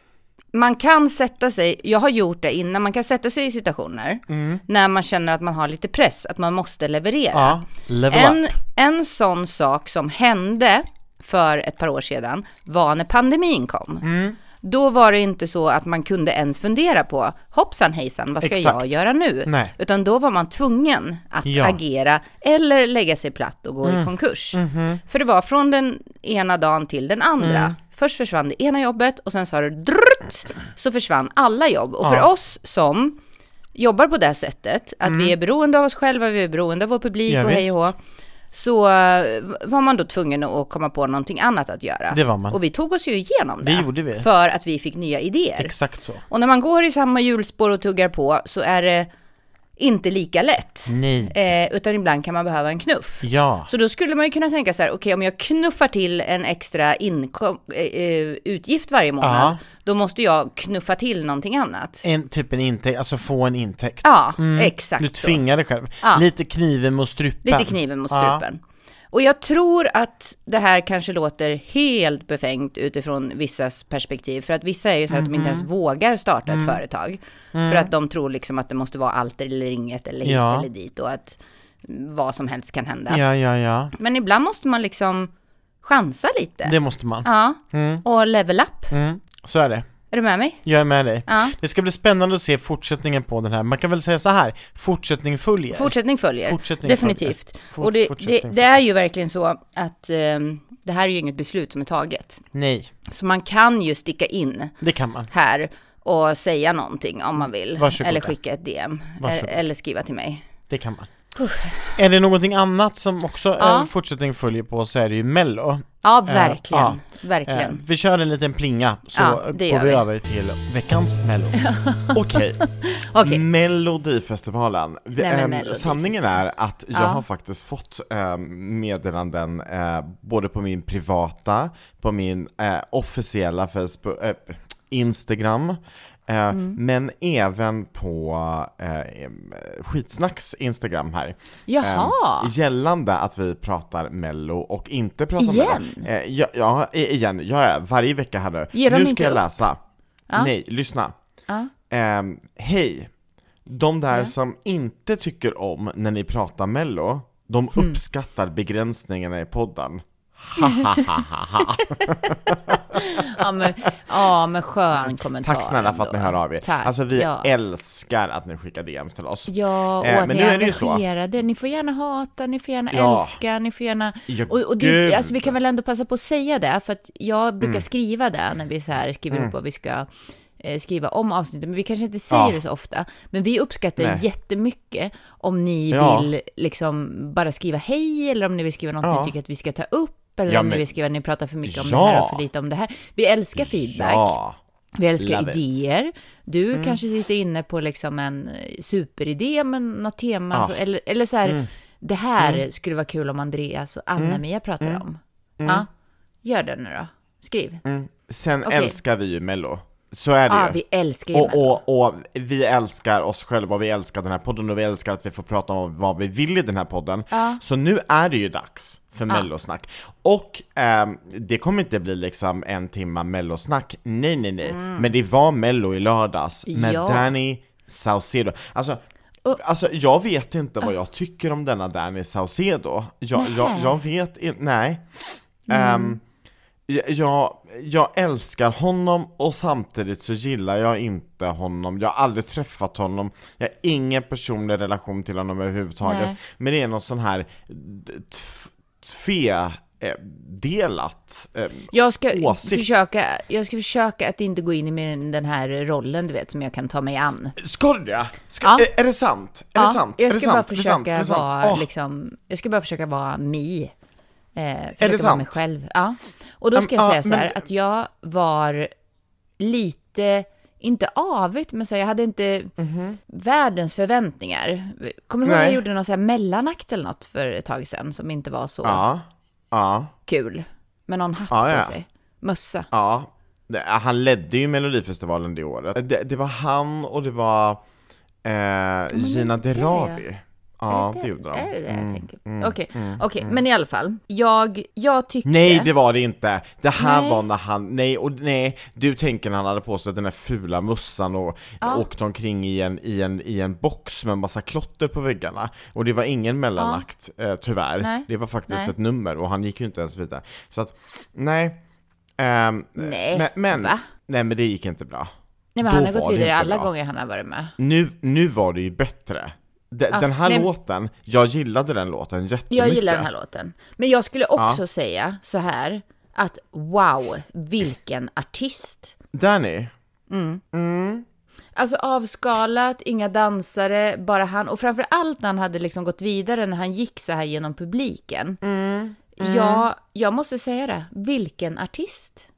man kan sätta sig, jag har gjort det innan, man kan sätta sig i situationer
Mm.
när man känner att man har lite press, att man måste leverera.
ja, level
En,
up.
en sån sak som hände för ett par år sedan var när pandemin kom.
Mm.
Då var det inte så att man kunde ens fundera på, hoppsan hejsan, vad ska
Exakt.
jag göra nu?
Nej.
Utan då var man tvungen att
Ja. Mm.
agera eller lägga sig platt och gå i konkurs.
Mhm.
För det var från den ena dagen till den andra.
Mm.
Först försvann det ena jobbet och sen sa det drutt, så försvann alla jobb. Och för
Ja. Mm.
oss som jobbar på det sättet, att vi är beroende av oss själva, vi är beroende av vår publik
Ja,
och hej och hå,
visst.
så eh, var man då tvungen att komma på någonting annat att göra.
Det var man.
Och vi tog oss ju igenom det.
Det gjorde vi.
För att vi fick nya idéer.
Exakt så.
Och när man går i samma hjulspår och tuggar på så är det inte lika lätt.
Mm.
Nej.
Eh, utan ibland kan man behöva en knuff.
Ja.
Så då skulle man ju kunna tänka så här, okej om jag knuffar till en extra inkom- eh, eh, utgift varje månad,
Ja.
då måste jag knuffa till någonting annat.
En, typ en intäkt, alltså få en intäkt. Mm.
Ja,
Du
exakt så.
tvingar dig själv.
Ja.
Lite kniven mot strupen.
Lite kniven mot
Ja.
strupen. Och jag tror att det här kanske låter helt befängt utifrån vissas perspektiv. För att vissa är ju så här att de inte
Mhm.
ens vågar starta ett
Mm.
företag. För att de tror liksom att det måste vara allt eller inget eller hit
Ja.
eller dit och att vad som helst kan hända.
Ja, ja, ja.
Men ibland måste man liksom chansa lite.
Det måste man.
Ja, och level up.
Mm. Så är det.
Är du med mig?
Jag är med dig.
Ja.
Det ska bli spännande att se fortsättningen på den här. Man kan väl säga så här, fortsättning följer.
Fortsättning följer.
Fortsättning
Definitivt.
följer. Fort-
och det, det,
fortsättning
det är ju verkligen så att ehm, det här är ju inget beslut som är taget.
Nej,
Så man kan ju sticka in
det kan man.
här och säga någonting om man vill.
Varsågoda.
Eller skicka ett DM.
Varsågod.
Eller, eller skriva till mig.
Det kan man. Är det någonting annat som också
Ja.
eh, fortsättning följer på så är det ju mello.
Ja, verkligen.
ja. Eh,
Verkligen.
vi kör en liten plinga så
Ja,
går
det
vi,
gör vi.
över till veckans mello.
Okej,
Okej.
Melodifestivalen. Vi-
Nej, men
ehm,
Melodifestivalen.
sanningen är att jag
Ja.
har faktiskt fått ehm, meddelanden eh, både på min privata, på min eh, officiella Facebook, eh, Instagram, eh,
Mm.
men även på eh, em, skitsnacks Instagram här.
Jaha.
eh.
Ehm, gällande att vi pratar mello och inte pratar
Igen?
mello. Eh, ja, ja, i- igen. Ja, ja, varje vecka här nu.
Ger de
nu
inte
ska jag
upp?
läsa.
Ja.
Nej, lyssna.
Ja.
Ehm, Hej! De där
Ja.
som inte tycker om när ni pratar mello, de
Hmm.
uppskattar begränsningarna i podden.
Ja, men, ja, men skön kommentar.
Tack snälla för att
ändå.
ni hör av er.
Tack,
alltså vi
ja.
älskar att ni skickar DM till oss.
Ja, och
Eh,
att
men
ni
nu
är
är det ju så.
engagerade. Ni får gärna hata, ni får gärna
Ja.
älska, ni får gärna...
Ja,
Och, och det,
gud. Mm.
alltså, vi kan väl ändå passa på att säga det, för att jag brukar skriva det när vi så här skriver upp vad vi ska eh, skriva om avsnittet, men vi kanske inte säger
Ja.
det så ofta. Men vi uppskattar
Nej.
jättemycket om ni
Ja.
vill liksom bara skriva hej, eller om ni vill skriva något
Ja.
ni tycker att vi ska ta upp, eller
Ja,
om ni
men-
vill skriva att ni pratar för mycket om
Ja.
det här och för lite om det här. Vi älskar feedback.
Ja.
Vi älskar
Love it. Mm.
idéer. Du kanske sitter inne på liksom en eh, superidé med något tema.
Ja.
Så, eller, eller så här,
Mm.
det här skulle vara kul om Andreas och Anna-Mia pratar om.
Mm.
Ja, gör det nu då. Skriv.
Sen
Okej.
älskar vi ju mello. Så är det
Ja,
ju.
vi älskar ju
Och,
Mello.
och, och vi älskar oss själva, och vi älskar den här podden och vi älskar att vi får prata om vad vi vill i den här podden.
Ja.
Så nu är det ju dags för mellosnack. Och ehm, det kommer inte bli liksom en timma mellosnack, nej nej nej. Men det var mello i lördags med
Mm. Ja.
Danny Saucedo. Alltså,
Och-
alltså jag vet inte vad jag tycker om denna Danny Saucedo. Jag, jag,
Nähä.
jag vet inte, nej. Ehm, jag, jag älskar honom och samtidigt så gillar jag inte honom. Jag har aldrig träffat honom. Jag har ingen personlig relation till honom överhuvudtaget.
Nej.
Men det är någon sån här d- tf- tvedelat. eh,
Jag ska,
åsikt.
försöka, jag ska försöka att inte gå in i min- den här rollen, du vet, som jag kan ta mig an.
Ska du det? Ska,
Ja.
är, är det sant? Är det sant?
Jag
är
ska
det sant?
bara
Är det sant? Är
försöka
det sant?
vara,
Åh,
liksom, jag ska bara försöka vara mi. Eh, försöka vara
sant?
mig själv. Ja. Och då ska
Ja,
jag
men-
säga så här, att jag var lite, inte avigt, men så här, jag hade inte världens förväntningar. Kommer du ihåg
Mhm. Nej.
jag gjorde någon så här mellanakt eller något för ett tag sedan som inte var så
Ja. Ja.
kul? Med någon hatt
Ja, ja.
på sig. Mössa.
Ja, det- han ledde ju Melodifestivalen det året. Det, det var han och det var eh, Gina
det är det.
Dirawi. Ja, Mm, det, gjorde de.
Är det det jag tänker på? Okej, okej, men i alla fall. Jag, jag tyckte...
mm. Nej det var det inte! Det här
Nej.
var när han, nej och nej, du tänker när han hade på sig den där fula mössan och
Ja.
åkte omkring i en, i, en, i en box med en massa klotter på väggarna Och det var ingen mellanakt, eh, tyvärr.
Nej.
Det var faktiskt
Nej.
ett nummer och han gick ju inte ens vidare. Så att, nej. Ehm,
Nej,
men, men,
va?
nej men det gick inte bra.
Nej, men
Då
han har
var
gått
det
vidare
inte
alla
bra.
gånger han har varit med.
Nu, nu var det ju bättre. De, den här
nej.
låten, jag gillade den låten jättemycket.
Jag gillar den här låten. Men jag skulle också säga så här att wow, vilken artist.
Danny,
Alltså avskalat, inga dansare, bara han. Och framför allt när han hade liksom gått vidare, när han gick så här genom publiken. Ja, jag måste säga det. Vilken artist.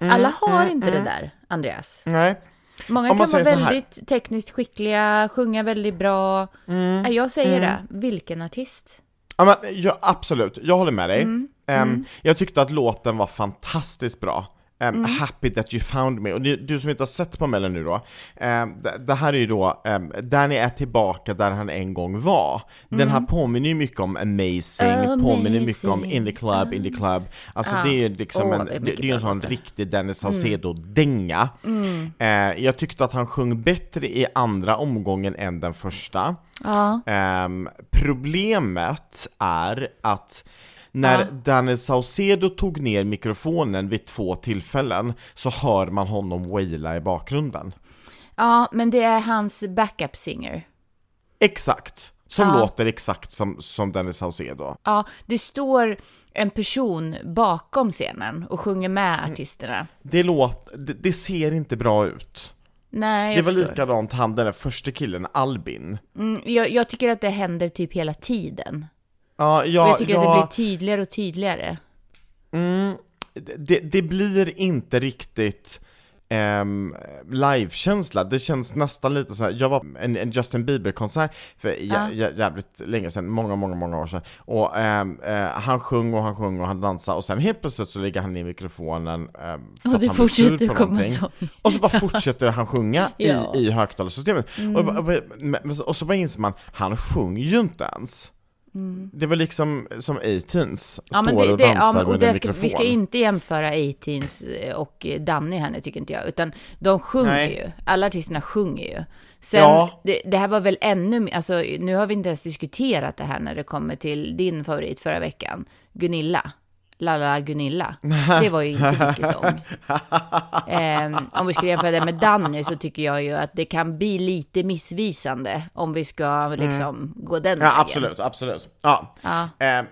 Alla har inte det där, Andreas.
nej.
Många
Om man
kan vara
säger så här.
väldigt tekniskt skickliga, sjunga väldigt bra. Nej, Jag säger det, vilken artist?
Ja, men, ja, absolut, jag håller med dig.
Mm.
Ehm, Jag tyckte att låten var fantastiskt bra. Ehm,
Mm.
Happy that you found me. Och du, du som inte har sett Pamela nu då, ehm, det, det här är ju då, ehm, Danny är tillbaka där han en gång var. Den
Mm.
här påminner ju mycket om Amazing, påminner mycket om In the Club, In the Club. Alltså det är ju liksom
Mm. Åh,
en,
det
det,
är
det
mycket
är ju en
bra
sån
låtar. Mm.
riktig Dennis Saucedo-dänga. Ehm, jag tyckte att han sjöng bättre i andra omgången än den första.
Ja.
Ehm, problemet är att när Danny Saucedo tog ner mikrofonen vid två tillfällen så hör man honom waila i bakgrunden.
Ja, men det är hans backup singer.
Exakt! Som låter exakt som, som Danny Saucedo.
Ja, det står en person bakom scenen och sjunger
Mm.
med artisterna.
Det, låt, det, det ser inte bra ut.
Nej,
Det
jag
var
förstår.
likadant han den där första killen, Albin.
Mm, jag, jag tycker att det händer typ hela tiden.
Ja,
Och
ja,
jag tycker
ja,
att det blir tydligare och tydligare.
det, det blir inte riktigt ehm, livekänsla, det känns nästan lite så här. jag var på en, en Justin Bieber-konsert för jä, jä, jävligt länge sedan, många, många, många år sedan, och ehm, eh, han sjöng och han sjöng och han dansade och sen helt plötsligt så lägger han ner mikrofonen ehm, för
Och
att
det
han blir sur
fortsätter
på
komma
någonting.
sång.
Och så bara fortsätter han sjunga
Ja. Mm.
i, i högtalarsystemet. Och, jag bara- men- men- och så bara inser man, han sjunger ju inte ens. Det var liksom som 18s, står och dansar
Mm. men-
med en
ska,
mikrofon.
Vi ska inte jämföra A-Teens eh, och Danny här nu tycker inte jag, utan de sjunger
Nej.
ju. Alla artisterna sjunger ju. Sen,
Ja.
det, det här var väl ännu mer, alltså nu har vi inte ens diskuterat det här när det kommer till din favorit förra veckan, Gunilla. Lala Gunilla. Det var ju inte mycket sång. Ehm, om vi skulle jämföra det med Danny så tycker jag ju att det kan bli lite missvisande om vi ska liksom gå den
Mm. Ja,
vägen.
absolut, absolut. Ja. Eh, eh,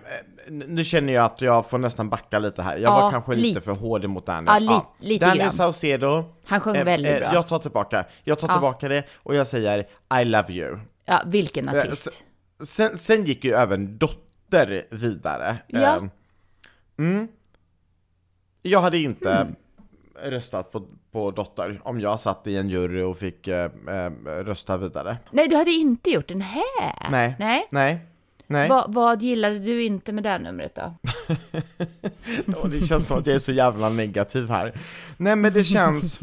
nu känner jag att jag får nästan backa lite här. Jag
Ja,
var kanske lite
lite.
för hård mot Danny.
Ja, li- lite
Danny
grann.
Saucedo.
Han sjöng
eh,
väldigt
eh,
bra.
Jag tar tillbaka, jag tar tillbaka det och jag säger I love you.
Ja, vilken
Eh,
artist.
se- Sen, sen gick ju även Dotter vidare.
Ja.
Eh, mm. Jag hade inte
Mm.
röstat på, på Dotter om jag satt i en jury och fick eh, eh, rösta vidare.
Nej, du hade inte gjort den här.
Nej.
Nej.
Nej. Nej.
Va, vad gillade du inte med det här numret då?
Och det känns som att jag är så jävla negativ här. Nej men det känns...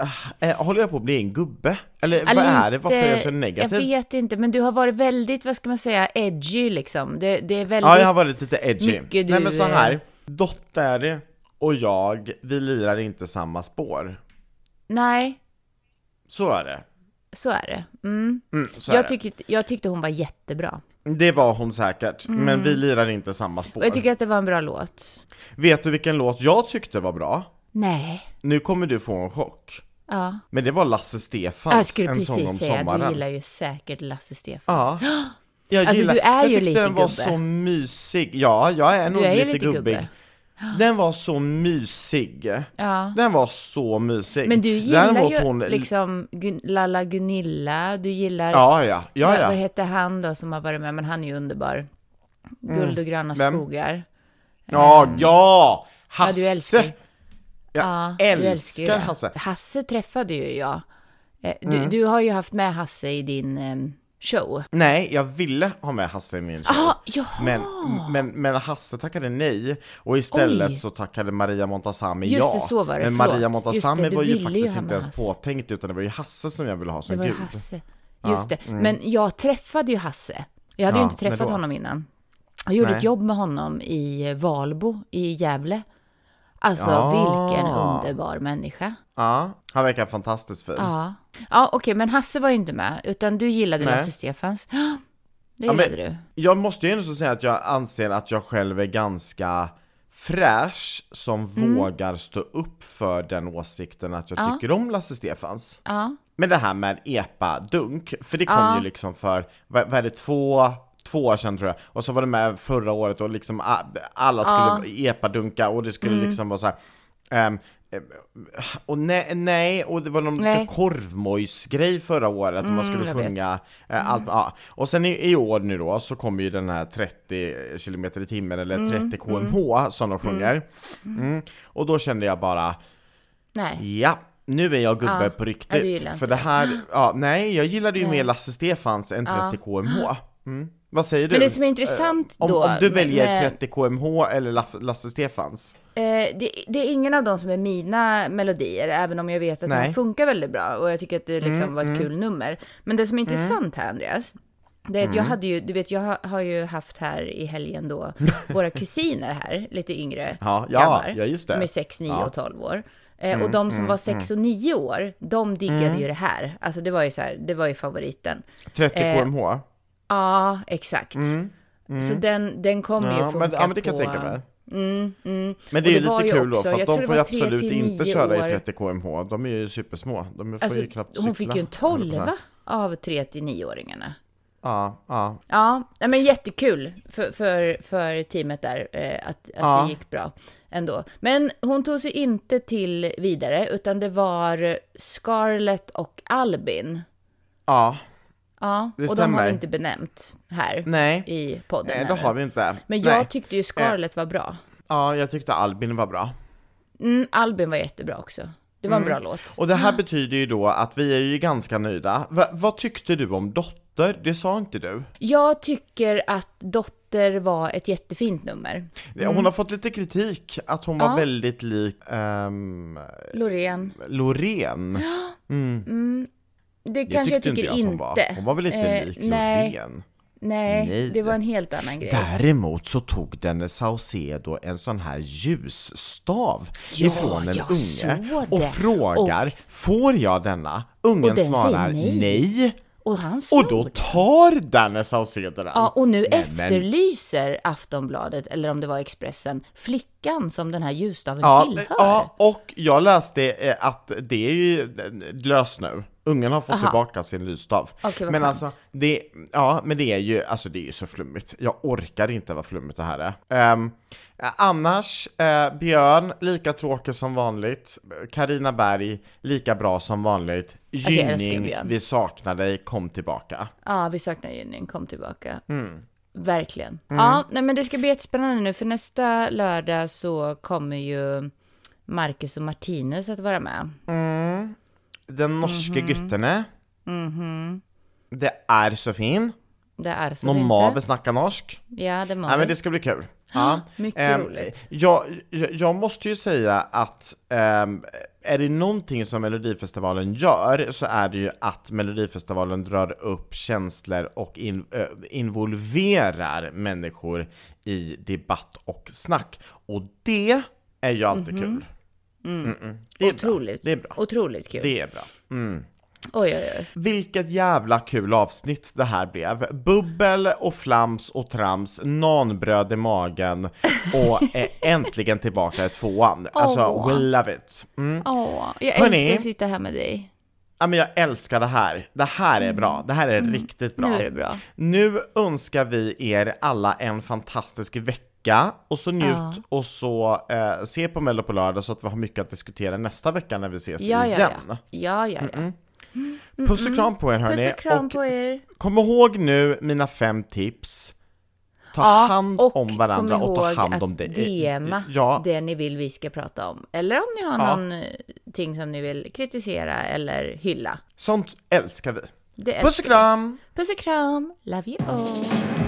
Eh, eh, håller jag på att bli en gubbe? Eller vad är det? alltså, Varför är jag så negativ?
eh, Jag vet inte, men du har varit väldigt, vad ska man säga, edgy liksom. Det, det är väldigt...
ja, jag har varit lite edgy.
mycket du-
Nej men så här. Dotter och jag, vi lirar inte samma spår.
Nej,
Så är det.
så är det. Mm.
Mm, så är
Jag, tyckte, jag tyckte hon var jättebra.
det. det var hon säkert, men vi lirar inte samma spår.
Mm. Och jag tycker att det var en bra låt.
Vet du vilken låt jag tyckte var bra?
Nej.
Nu kommer du få en chock.
Ja.
Men det var Lasse Stefans
Jag skulle
En sång om
precis säga,
sommaren.
du gillar ju säkert Lasse Stefans.
Ja. Jag
Alltså,
gillar,
du är
jag
ju
tyckte
lite
den var
gubbe.
så mysig. Ja, jag är nog
är ju
lite,
lite
gubbig.
gubbe.
Den var så mysig.
Ja.
Den var så mysig.
Men du gillar
Däremot
ju
hon...
liksom Gun- Lalla Gunilla, du gillar
Ja, ja, ja,
Vad- Vad
ja.
hette han då som har varit med? Men han är ju underbar. Guld och gröna
Mm. Vem?
skogar.
Ja, ja! Hasse!
du älskar ju-
Jag
Ja, du
älskar
älskar ju det.
Hasse. Mm.
Hasse träffade ju jag. Eh, Du, du har ju haft med Hasse i din em, show.
Nej, jag ville ha med Hasse i min show.
Ah, jaha!
Men, men, men Hasse tackade nej och istället
Oj.
så tackade Maria Montazami
Just
ja.
det, så var det.
men
Förlåt.
Maria
Just
Montazami
det, du
var ju
ville ju
faktiskt
ha med
inte ens
Hasse.
påtänkt utan det var ju Hasse som jag ville ha som
det var ju
gud. mm.
Hasse. Just det. Men jag träffade ju Hasse. Jag hade
Ja,
ju inte
när
träffat
då?
honom innan. Jag gjorde
Nej.
ett jobb med honom i Valbo i Gävle. Alltså
Ja.
vilken underbar människa.
Ja, han verkar fantastiskt fin.
Ja, ja okej, men Hasse var ju inte med, utan du gillade
Nej.
Lasse Stefans. Det
Ja, men-
gillade du.
Jag måste ju ändå så säga att jag anser att jag själv är ganska fräsch som vågar stå upp för den åsikten att jag tycker om Lasse Stefans.
Ja.
Men det här med epa-dunk, för det kom ju liksom för, vad, vad är det, två, två år sedan tror jag. Och så var det med förra året och liksom a- alla skulle epa-dunka och det skulle
Mm.
liksom vara så här. ehm, eh, och nej, nej, och det var någon
Nej. Mm,
korvmojs-grej förra året som man skulle
jag vet. Mm.
sjunga eh, allt, ja. Och sen i, i år nu då så kommer ju den här 30 km i timmen eller 30
mm.
Mm. kmh som de sjunger. Mm. Och då kände jag bara,
Nej.
Ja, Nu är jag gubbe
Ja.
på
Ja, du
riktigt.
gillar inte
för det här, ja, nej, jag gillade ju
Nej.
mer Lasse Stefans än 30 KMH. Mm. Vad säger du? Eh,
Men det som är intressant
om,
då.
om du
med-
väljer
med-
30 KMH eller Laf- Lasse Stefans?
Eh, det, det är ingen av dem som är mina melodier, även om jag vet att
Nej. Mm,
den funkar väldigt bra och jag tycker att det liksom var ett kul nummer. Men det som är intressant här Andreas, det är att jag
Mm.
hade ju, du vet jag har, har ju haft här i helgen då våra kusiner här, lite yngre
Ja, ja,
grabbar.
ja, just det.
De är 6, 9
Ja. Mm,
och 12 år. Eh, och de som var 6 och 9 år, de diggade ju det här. Alltså det var ju så här, det var ju favoriten.
30
Eh,
KMH?
Ja, exakt. Så den, den kommer ju
Mm, Ja
funka
men, ja, men det kan
på...
jag tänka mig.
Mm, mm.
Men det är
Och
ju
var
lite kul då,
också-
för att
jag tror
de
det
får
var 3
ju absolut
till
inte
9
köra
år.
i 30 KMH, de är ju supersmå. De får
Alltså,
ju knappt
hon fick ju en 12
höll jag på att säga.
av 3 till 9-åringarna.
Ja, ja.
Ja, nej, men jättekul för, för, för teamet där eh, att, att
Ja.
det gick bra ändå. Men hon tog sig inte till vidare, utan det var Scarlett och Albin.
Ja,
Ja, och
Det
de har
stämmer.
vi inte benämt här
nej.
i podden.
Nej, det
ännu.
har vi inte.
Men jag
nej. Eh.
tyckte ju Scarlett var bra.
Ja, jag tyckte Albin var bra.
Mm, Albin var jättebra också. Det var en
Mm.
bra låt.
Och det här betyder ju då att vi är ju ganska nöjda. Va, vad tyckte du om Dotter? Det sa inte du.
Jag tycker att Dotter var ett jättefint nummer.
Hon har fått lite kritik, att hon
Mm. Ja.
var väldigt lik ehm,
Loreen.
Loreen.
Det
Det
kanske
tyckte
jag tycker
inte jag att hon var. Hon var väl inte
Eh,
lik
nej,
Loreen?
nej,
Nej.
det var en helt annan grej.
Däremot så tog den Saucedo en sån här ljusstav
Ja,
ifrån en
jag
unge
såg
och
det.
frågar Får jag denna? Ungen
Och den
svarar
säger nej.
nej.
Och han snor.
Och då tar Danne Saucedo den!
Ja, och nu
men-
efterlyser Aftonbladet, eller om det var Expressen, flickan som den här ljusstaven
ja,
tillhör.
ja, och jag läste eh, att det är ju eh, löst nu. Ungen har fått
Aha.
tillbaka sin lysstav.
Okej, vad
men
skönt.
alltså, det, ja, men det är ju, alltså det är ju så flummigt. Jag orkar inte vad flummigt det här är. Ehm, annars, eh, Björn, lika tråkig som vanligt. Karina Berg, lika bra som vanligt.
Alltså, jag älskar
Gynning,
Björn.
vi saknar dig, kom tillbaka.
Ja, vi saknar Jenny, kom tillbaka.
Mm.
Verkligen. Ja, nej men det ska bli jättespännande nu, för nästa lördag så kommer ju Marcus och Martinus att vara med.
Mm. Den norske
Mhm.
guttene. Det är så fin.
Det är så
Någon
inte.
mave snackar norsk.
Ja, det må
Ja, men
vi.
det ska bli kul. Ja.
mycket
Ehm,
roligt.
Jag, jag, jag måste ju säga att ehm, är det någonting som Melodifestivalen gör så är det ju att Melodifestivalen drar upp känslor och in, ö, involverar människor i debatt och snack. Och det är ju alltid kul. Mm-mm. Det är
Otroligt.
Bra. Det är bra.
Otroligt kul.
Det är bra.
Oj, oj, oj.
Vilket jävla kul avsnitt det här blev. Bubbel och flams och trams, nanbröd i magen och eh, äntligen tillbaka i tvåan. Alltså,
Åh.
we love it. Mm.
Åh, jag
Hörni.
älskar att sitta här med dig.
Ja, men jag älskar det här. Det här är bra. Det här är riktigt bra.
Mm. Nu är det bra.
Nu önskar vi er alla en fantastisk vecka och så njut och så eh, se på Mello på lördag så att vi har mycket att diskutera nästa vecka när vi ses
Ja, ja,
igen.
ja. Ja, ja, ja.
Puss och kram på er hörni.
Puss och kram
Och-
på er.
Kom ihåg nu mina fem tips. Ta
Ja,
hand
och
om varandra
kom
och ta
ihåg
hand om
att
dig.
DMa
Ja,
det ni vill vi ska prata om. Eller om ni har
Ja.
någonting som ni vill kritisera eller hylla.
sånt älskar vi.
Det
Puss och
älskar vi.
kram!
Puss och kram. Love you all.